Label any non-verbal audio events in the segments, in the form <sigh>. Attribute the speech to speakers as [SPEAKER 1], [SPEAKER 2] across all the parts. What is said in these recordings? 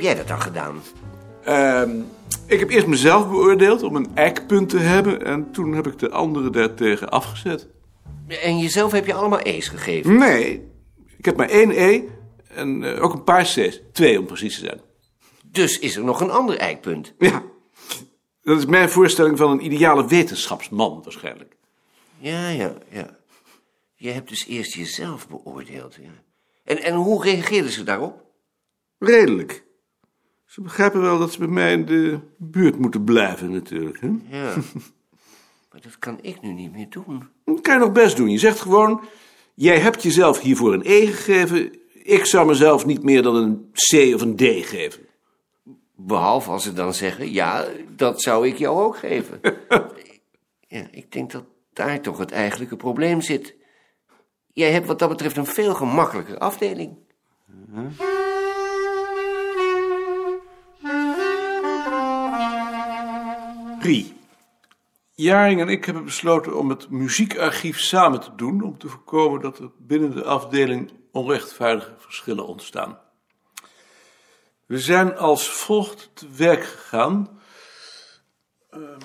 [SPEAKER 1] jij dat dan gedaan?
[SPEAKER 2] Ehm, ik heb eerst mezelf beoordeeld om een eikpunt te hebben... en toen heb ik de anderen daartegen afgezet.
[SPEAKER 1] En jezelf heb je allemaal E's gegeven.
[SPEAKER 2] Nee, ik heb maar één E en eh, ook een paar C's. Twee om precies te zijn.
[SPEAKER 1] Dus is er nog een ander eikpunt.
[SPEAKER 2] Ja, dat is mijn voorstelling van een ideale wetenschapsman waarschijnlijk.
[SPEAKER 1] Ja, ja, ja. Je hebt dus eerst jezelf beoordeeld. Ja. En, en hoe reageerden ze daarop?
[SPEAKER 2] Redelijk. Ze begrijpen wel dat ze bij mij in de buurt moeten blijven natuurlijk. Hè?
[SPEAKER 1] <laughs> Ja. maar dat kan ik nu niet meer doen.
[SPEAKER 2] Dat kan je nog best doen. Je zegt gewoon, jij hebt jezelf hiervoor een E gegeven... ik zou mezelf niet meer dan een C of een D geven.
[SPEAKER 1] Behalve als ze dan zeggen, ja, dat zou ik jou ook <laughs> geven. ja, ik denk dat daar toch het eigenlijke probleem zit. Jij hebt wat dat betreft een veel gemakkelijker afdeling.
[SPEAKER 2] Rie. Jaring en ik hebben besloten om het muziekarchief samen te doen... om te voorkomen dat er binnen de afdeling onrechtvaardige verschillen ontstaan. We zijn als volgt te werk gegaan. Ehm,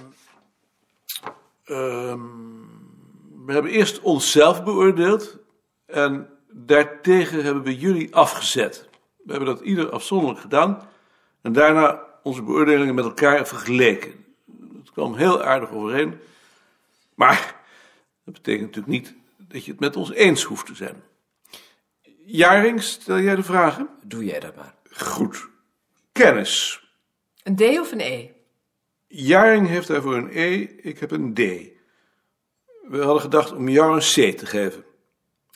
[SPEAKER 2] ehm, we hebben eerst onszelf beoordeeld... en daartegen hebben we jullie afgezet. We hebben dat ieder afzonderlijk gedaan... en daarna onze beoordelingen met elkaar vergeleken... Het kwam heel aardig overeen. Maar dat betekent natuurlijk niet dat je het met ons eens hoeft te zijn. Jaring, stel jij de vragen?
[SPEAKER 3] Doe jij dat maar.
[SPEAKER 2] Goed. Kennis.
[SPEAKER 4] Een D of een E?
[SPEAKER 2] Jaring heeft daarvoor een E, ik heb een D. We hadden gedacht om jou een C te geven.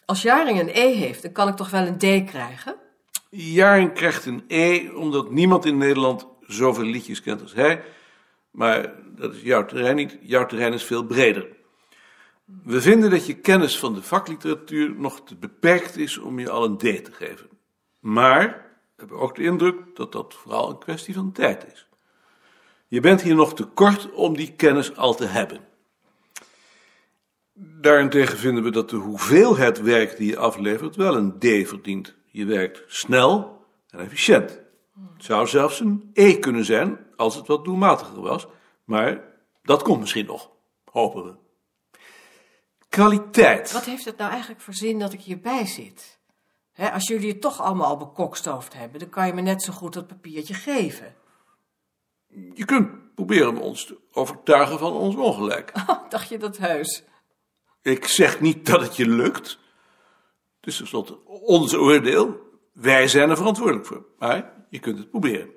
[SPEAKER 4] Als Jaring een E heeft, dan kan ik toch wel een D krijgen?
[SPEAKER 2] Jaring krijgt een E omdat niemand in Nederland zoveel liedjes kent als hij. Maar dat is jouw terrein niet. Jouw terrein is veel breder. We vinden dat je kennis van de vakliteratuur nog te beperkt is om je al een D te geven. Maar we hebben ook de indruk dat dat vooral een kwestie van tijd is. Je bent hier nog te kort om die kennis al te hebben. Daarentegen vinden we dat de hoeveelheid werk die je aflevert wel een D verdient. Je werkt snel en efficiënt. Het zou zelfs een E kunnen zijn als het wat doelmatiger was, maar dat komt misschien nog, hopen we. Kwaliteit.
[SPEAKER 4] Wat heeft het nou eigenlijk voor zin dat ik hierbij zit? Hè, als jullie het toch allemaal al bekokstoofd hebben, dan kan je me net zo goed dat papiertje <laughs> geven.
[SPEAKER 2] Je kunt proberen om ons te overtuigen van ons ongelijk.
[SPEAKER 4] Oh, Dacht je dat heus?
[SPEAKER 2] Ik zeg niet dat het je lukt. Het is tenslotte ons oordeel. Wij zijn er verantwoordelijk voor. Maar je kunt het proberen.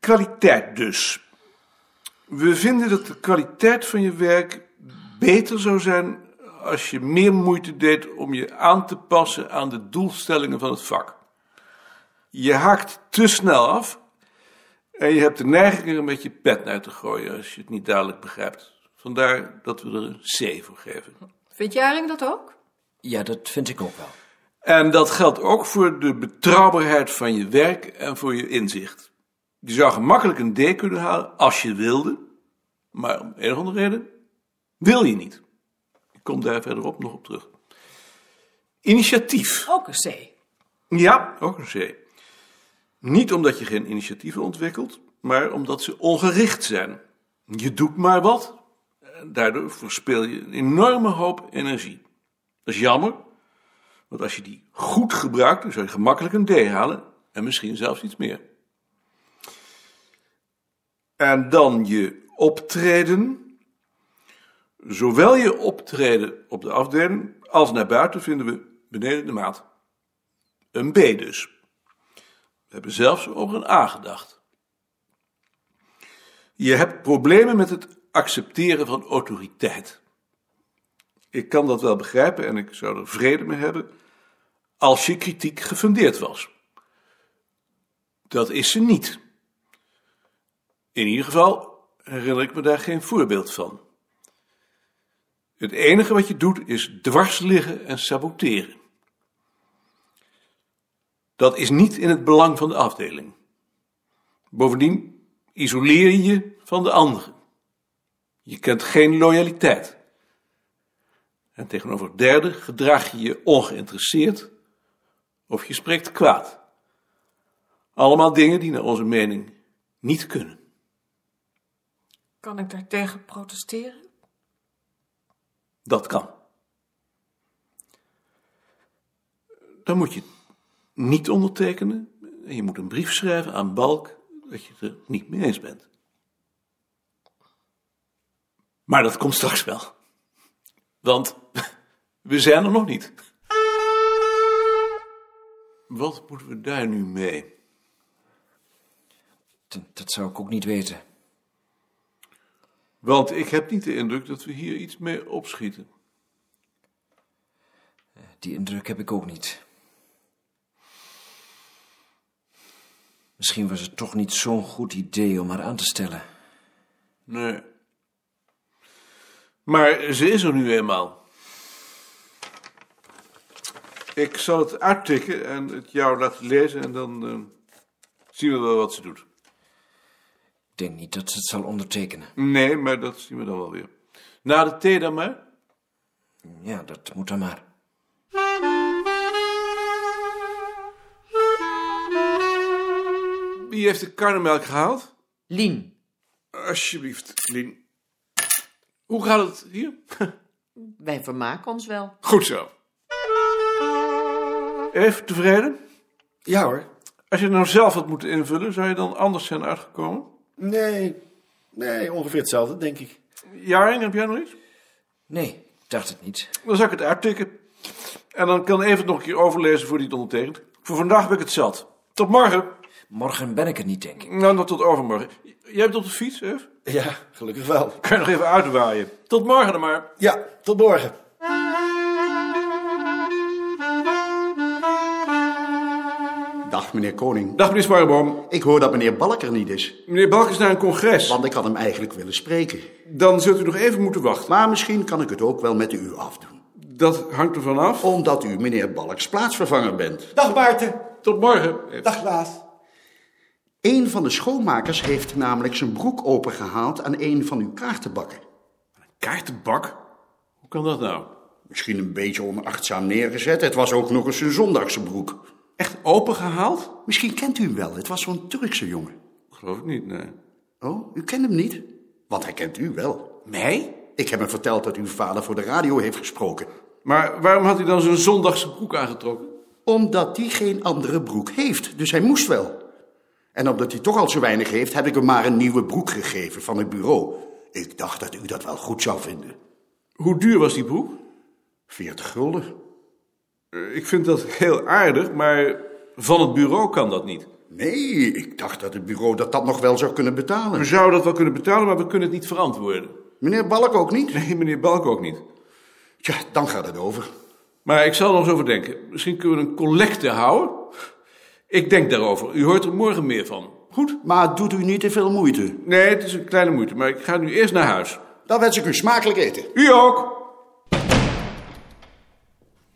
[SPEAKER 2] Kwaliteit dus. We vinden dat de kwaliteit van je werk beter zou zijn als je meer moeite deed om je aan te passen aan de doelstellingen van het vak. Je haakt te snel af en je hebt de neiging er een beetje pet uit te gooien als je het niet dadelijk begrijpt. Vandaar dat we er een C voor geven.
[SPEAKER 4] Vindt Jaring dat ook?
[SPEAKER 3] Ja, dat vind ik ook wel.
[SPEAKER 2] En dat geldt ook voor de betrouwbaarheid van je werk en voor je inzicht. Je zou gemakkelijk een D kunnen halen als je wilde, maar om een of andere reden wil je niet. Ik kom daar verderop nog op terug. Initiatief.
[SPEAKER 4] Ook een C.
[SPEAKER 2] Ja, ook een C. Niet omdat je geen initiatieven ontwikkelt, maar omdat ze ongericht zijn. Je doet maar wat. En Daardoor verspil je een enorme hoop energie. Dat is jammer, want als je die goed gebruikt, dan zou je gemakkelijk een D halen en misschien zelfs iets meer. En dan je optreden. Zowel je optreden op de afdeling als naar buiten vinden we beneden de maat. Een B dus. We hebben zelfs over een A gedacht. Je hebt problemen met het accepteren van autoriteit. Ik kan dat wel begrijpen en ik zou er vrede mee hebben als je kritiek gefundeerd was. Dat is ze niet. In ieder geval herinner ik me daar geen voorbeeld van. Het enige wat je doet is dwars liggen en saboteren. Dat is niet in het belang van de afdeling. Bovendien isoleer je je van de anderen. Je kent geen loyaliteit. En tegenover derden gedraag je je ongeïnteresseerd, Of je spreekt kwaad. Allemaal dingen die naar onze mening niet kunnen.
[SPEAKER 4] Kan ik daartegen protesteren?
[SPEAKER 2] Dat kan. Dan moet je het niet ondertekenen. En je moet een brief schrijven aan Balk dat je het er niet mee eens bent. Maar dat komt straks wel. Want we zijn er nog niet. Wat moeten we daar nu mee?
[SPEAKER 3] Dat, dat zou ik ook niet weten.
[SPEAKER 2] Want ik heb niet de indruk dat we hier iets mee opschieten.
[SPEAKER 3] Die indruk heb ik ook niet. Misschien was het toch niet zo'n goed idee om haar aan te stellen.
[SPEAKER 2] Nee. Maar ze is er nu eenmaal. Ik zal het uittikken en het jou laten lezen en dan eh, zien we wel wat ze doet.
[SPEAKER 3] Ik denk niet dat ze het zal ondertekenen.
[SPEAKER 2] Nee, maar dat zien we dan wel weer. Na de thee dan maar.
[SPEAKER 3] Ja, dat moet dan maar.
[SPEAKER 2] Wie heeft de karnemelk gehaald?
[SPEAKER 5] Lien,
[SPEAKER 2] Alsjeblieft, Lien. Hoe gaat het hier?
[SPEAKER 5] <laughs> wij vermaken ons wel.
[SPEAKER 2] Goed zo. Even tevreden?
[SPEAKER 6] Ja hoor.
[SPEAKER 2] Als je het nou zelf had moeten invullen, zou je dan anders zijn uitgekomen?
[SPEAKER 6] Nee, nee, ongeveer hetzelfde, denk ik.
[SPEAKER 2] Jaring, heb jij nog iets?
[SPEAKER 3] Nee, ik dacht het niet.
[SPEAKER 2] Dan zal ik het uittikken. En dan kan even nog een keer overlezen voor die het ondertekent. Voor vandaag ben ik het zat. Tot morgen.
[SPEAKER 3] Morgen ben ik er niet, denk ik.
[SPEAKER 2] Nou, dan tot overmorgen. J- Jij bent op de fiets, Ef?
[SPEAKER 6] Ja, gelukkig wel.
[SPEAKER 2] Kan je nog even uitwaaien. Tot morgen dan maar.
[SPEAKER 6] Ja, tot morgen.
[SPEAKER 7] Dag, meneer Koning.
[SPEAKER 2] Dag, meneer Sparrenboom.
[SPEAKER 7] Ik hoor dat meneer Balk er niet is,
[SPEAKER 2] Meneer Balk is naar een congres.
[SPEAKER 7] want ik had hem eigenlijk willen spreken.
[SPEAKER 2] Dan zult u nog even moeten wachten.
[SPEAKER 7] Maar misschien kan ik het ook wel met u afdoen.
[SPEAKER 2] Dat hangt ervan af.
[SPEAKER 7] Omdat u meneer Balks plaatsvervanger bent.
[SPEAKER 6] Dag Maarten.
[SPEAKER 2] Tot morgen. Ef.
[SPEAKER 6] Dag Klaas.
[SPEAKER 7] Een van de schoonmakers heeft namelijk zijn broek opengehaald aan een van uw kaartenbakken.
[SPEAKER 2] Kaartenbak? Hoe kan dat nou?
[SPEAKER 7] Misschien een beetje onachtzaam neergezet. Het was ook nog eens een zondagse broek.
[SPEAKER 2] Echt opengehaald?
[SPEAKER 7] Misschien kent u hem wel. Het was zo'n Turkse jongen.
[SPEAKER 2] Geloof ik niet, nee.
[SPEAKER 7] Oh, u kent hem niet? Want hij kent u wel.
[SPEAKER 2] Mij?
[SPEAKER 7] Ik heb hem verteld dat uw vader voor de radio heeft gesproken.
[SPEAKER 2] Maar waarom had hij dan zijn zondagse broek aangetrokken?
[SPEAKER 7] Omdat hij geen andere broek heeft, dus hij moest wel. En omdat hij toch al zo weinig heeft, heb ik hem maar een nieuwe broek gegeven van het bureau. Ik dacht dat u dat wel goed zou vinden.
[SPEAKER 2] Hoe duur was die broek?
[SPEAKER 7] 40 gulden?
[SPEAKER 2] Eh, Ik vind dat heel aardig, maar van het bureau kan dat niet.
[SPEAKER 7] Nee, ik dacht dat het bureau dat dat nog wel zou kunnen
[SPEAKER 2] We
[SPEAKER 7] betalen.
[SPEAKER 2] zouden dat wel kunnen betalen, maar we kunnen het niet verantwoorden.
[SPEAKER 7] Meneer Balk ook niet?
[SPEAKER 2] Nee, meneer Balk ook niet.
[SPEAKER 7] Tja, dan gaat het over.
[SPEAKER 2] Maar ik zal er nog eens over denken. Misschien kunnen we een collecte houden. Ik denk daarover. U hoort er morgen meer van. Goed?
[SPEAKER 7] Maar doet u niet te veel moeite.
[SPEAKER 2] Nee, het is een kleine moeite, maar ik ga nu eerst naar huis.
[SPEAKER 7] Dan wens ik u smakelijk eten.
[SPEAKER 2] U ook!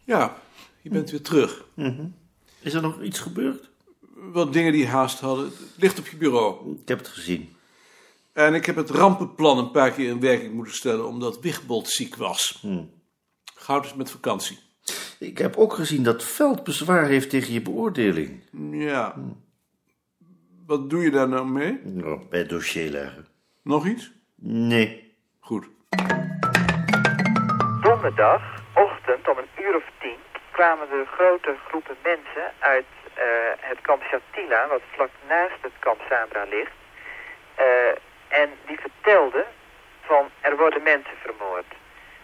[SPEAKER 2] Ja, je bent weer terug.
[SPEAKER 8] Mhm. Is er nog iets gebeurd?
[SPEAKER 2] Wat dingen die haast hadden. Het ligt op je bureau.
[SPEAKER 8] Ik heb het gezien.
[SPEAKER 2] En ik heb het rampenplan een paar keer in werking moeten stellen, omdat Wigbold ziek was.
[SPEAKER 8] Hmm.
[SPEAKER 2] Goud is met vakantie.
[SPEAKER 8] Ik heb ook gezien dat Veld bezwaar heeft tegen je beoordeling.
[SPEAKER 2] Ja. Wat doe je daar nou mee?
[SPEAKER 8] Nou, bij het dossier leggen.
[SPEAKER 2] Nog iets?
[SPEAKER 8] Nee.
[SPEAKER 2] Goed.
[SPEAKER 9] Donderdagochtend om een uur of tien kwamen er grote groepen mensen uit eh, het kamp Shatila, wat vlak naast het kamp Sabra ligt. Eh, en die vertelden van er worden mensen vermoord.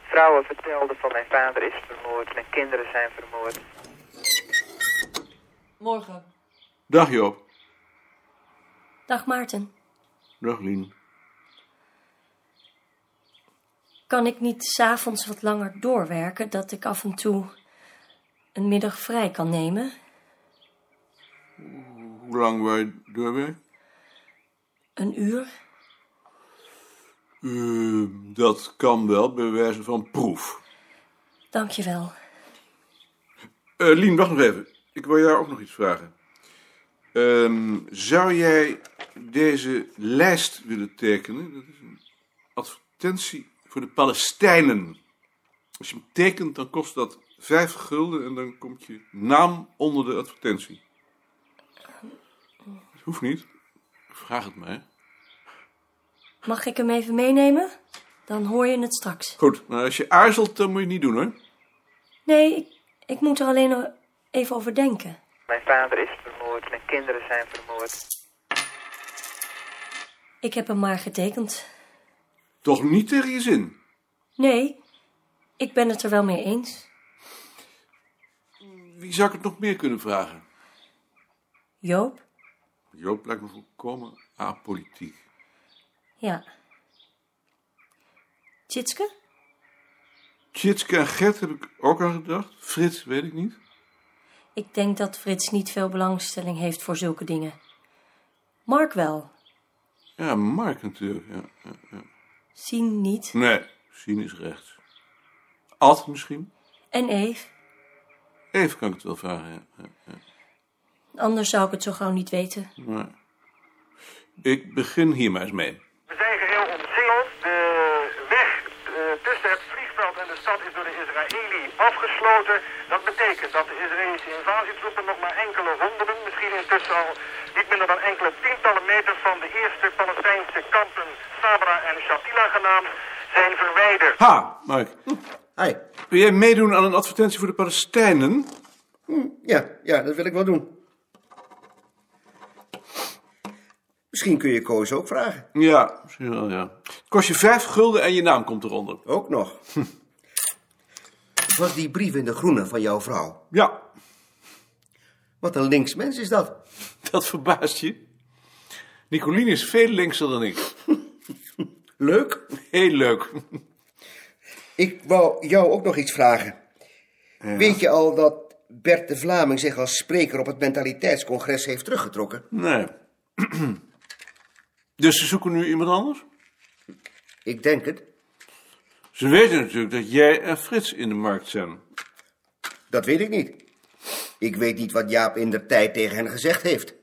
[SPEAKER 9] Vrouwen vertelden van mijn vader is vermoord, mijn kinderen zijn vermoord.
[SPEAKER 5] Morgen.
[SPEAKER 2] Dag Joop.
[SPEAKER 10] Dag Maarten.
[SPEAKER 2] Dag Lien.
[SPEAKER 10] Kan ik niet s'avonds wat langer doorwerken, dat ik af en toe een middag vrij kan nemen?
[SPEAKER 2] Hoe lang wij je doorwerk?
[SPEAKER 10] Een uur?
[SPEAKER 2] Eh, dat kan wel, bij wijze van proef.
[SPEAKER 10] Dankjewel.
[SPEAKER 2] Eh, Lien, wacht nog even. Ik wil jou ook nog iets vragen. Ehm, zou jij deze lijst willen tekenen? Dat is een advertentie voor de Palestijnen. Als je hem tekent, dan kost dat Vijf gulden en dan komt je naam onder de advertentie. Het hoeft niet. Vraag het mij.
[SPEAKER 10] Mag ik hem even meenemen? Dan hoor je het straks.
[SPEAKER 2] Goed, maar als je aarzelt, dan moet je het niet doen hoor.
[SPEAKER 10] Nee, ik, ik moet er alleen nog even over denken.
[SPEAKER 9] Mijn vader is vermoord, mijn kinderen zijn vermoord.
[SPEAKER 10] Ik heb hem maar getekend.
[SPEAKER 2] Toch niet tegen je zin?
[SPEAKER 4] Né?
[SPEAKER 10] Nee, ik ben het er wel mee eens.
[SPEAKER 2] Wie zou ik het nog meer kunnen vragen?
[SPEAKER 10] Joop?
[SPEAKER 2] Joop lijkt me volkomen apolitiek.
[SPEAKER 10] Ja. Tjitske?
[SPEAKER 2] Tjitske en Gert heb ik ook aan gedacht. Frits weet ik niet.
[SPEAKER 10] Ik denk dat Frits niet veel belangstelling heeft voor zulke dingen. Mark wel.
[SPEAKER 2] Ja, Mark natuurlijk. Ja, ja, ja.
[SPEAKER 10] Sien niet.
[SPEAKER 2] Nee, Sien is rechts. Ad misschien?
[SPEAKER 10] En Eve.
[SPEAKER 2] Even kan ik het wel vragen, ja. ja, ja.
[SPEAKER 10] Anders zou ik het zo gauw niet weten.
[SPEAKER 2] Maar ik begin hier maar eens mee.
[SPEAKER 11] We zijn geheel omzingeld. De weg eh, tussen het vliegveld en de stad is door de Israëli afgesloten. Dat betekent dat de Israëlische invasietroepen nog maar enkele honderden, misschien intussen al niet minder dan enkele tientallen meters van de eerste Palestijnse kampen, Sabra en Shatila genaamd, zijn verwijderd.
[SPEAKER 2] Ha, Mark. Hi. Wil jij meedoen aan een advertentie voor de Palestijnen?
[SPEAKER 6] Hm, Ja, ja, dat wil ik wel doen. Misschien kun je Koos ook vragen.
[SPEAKER 2] Ja, misschien wel, ja. Kost je vijf gulden en je naam komt eronder.
[SPEAKER 6] Ook
[SPEAKER 12] <laughs>
[SPEAKER 6] nog.
[SPEAKER 12] Was die brief in de groene van jouw vrouw?
[SPEAKER 2] Ja.
[SPEAKER 12] Wat een linksmens is dat.
[SPEAKER 2] <laughs> Dat verbaast je. Nicoline is veel linkser dan ik.
[SPEAKER 6] Leuk?
[SPEAKER 2] Heel leuk.
[SPEAKER 12] Ik wou jou ook nog iets vragen. Weet je al dat Bert de Vlaming zich als spreker op het mentaliteitscongres heeft teruggetrokken?
[SPEAKER 2] Nee. <clears throat> dus ze zoeken nu iemand anders?
[SPEAKER 12] Ik denk het.
[SPEAKER 2] Ze weten natuurlijk dat jij en Frits in de markt zijn.
[SPEAKER 12] Dat weet ik niet. Ik weet niet wat Jaap in der tijd tegen hen gezegd heeft.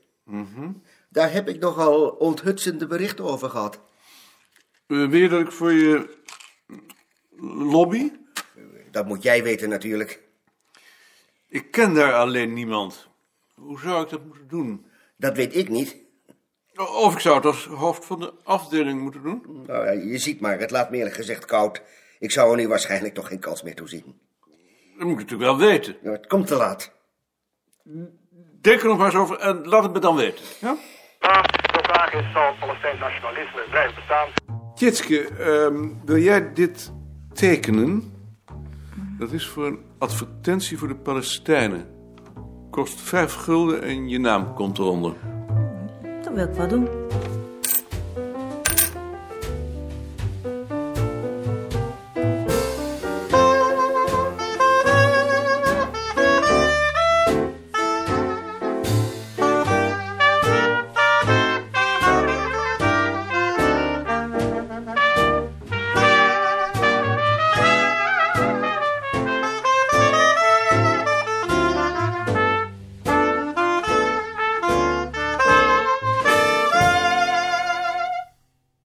[SPEAKER 12] Daar heb ik nogal onthutsende berichten over gehad.
[SPEAKER 2] Eh, Wil je dat ik voor je lobby?
[SPEAKER 12] Dat moet jij weten natuurlijk.
[SPEAKER 2] Ik ken daar alleen niemand. Hoe zou ik dat moeten doen?
[SPEAKER 12] Dat weet ik niet.
[SPEAKER 2] Of ik zou het als hoofd van de afdeling moeten doen.
[SPEAKER 12] Nou ja, je ziet maar, het laat me eerlijk gezegd koud. Ik zou er nu waarschijnlijk toch geen kans meer toe zien.
[SPEAKER 2] Dat moet ik natuurlijk wel weten.
[SPEAKER 12] Ja, het komt te laat.
[SPEAKER 2] Denk er nog maar eens over en laat het me dan weten. Ja?
[SPEAKER 11] De vraag is, zal het Palestijns nationalisme blijven bestaan?
[SPEAKER 2] Tjitske, ehm, wil jij dit tekenen? Dat is voor een advertentie voor de Palestijnen. Kost vijf gulden en je naam komt eronder.
[SPEAKER 10] Dat wil ik wel doen.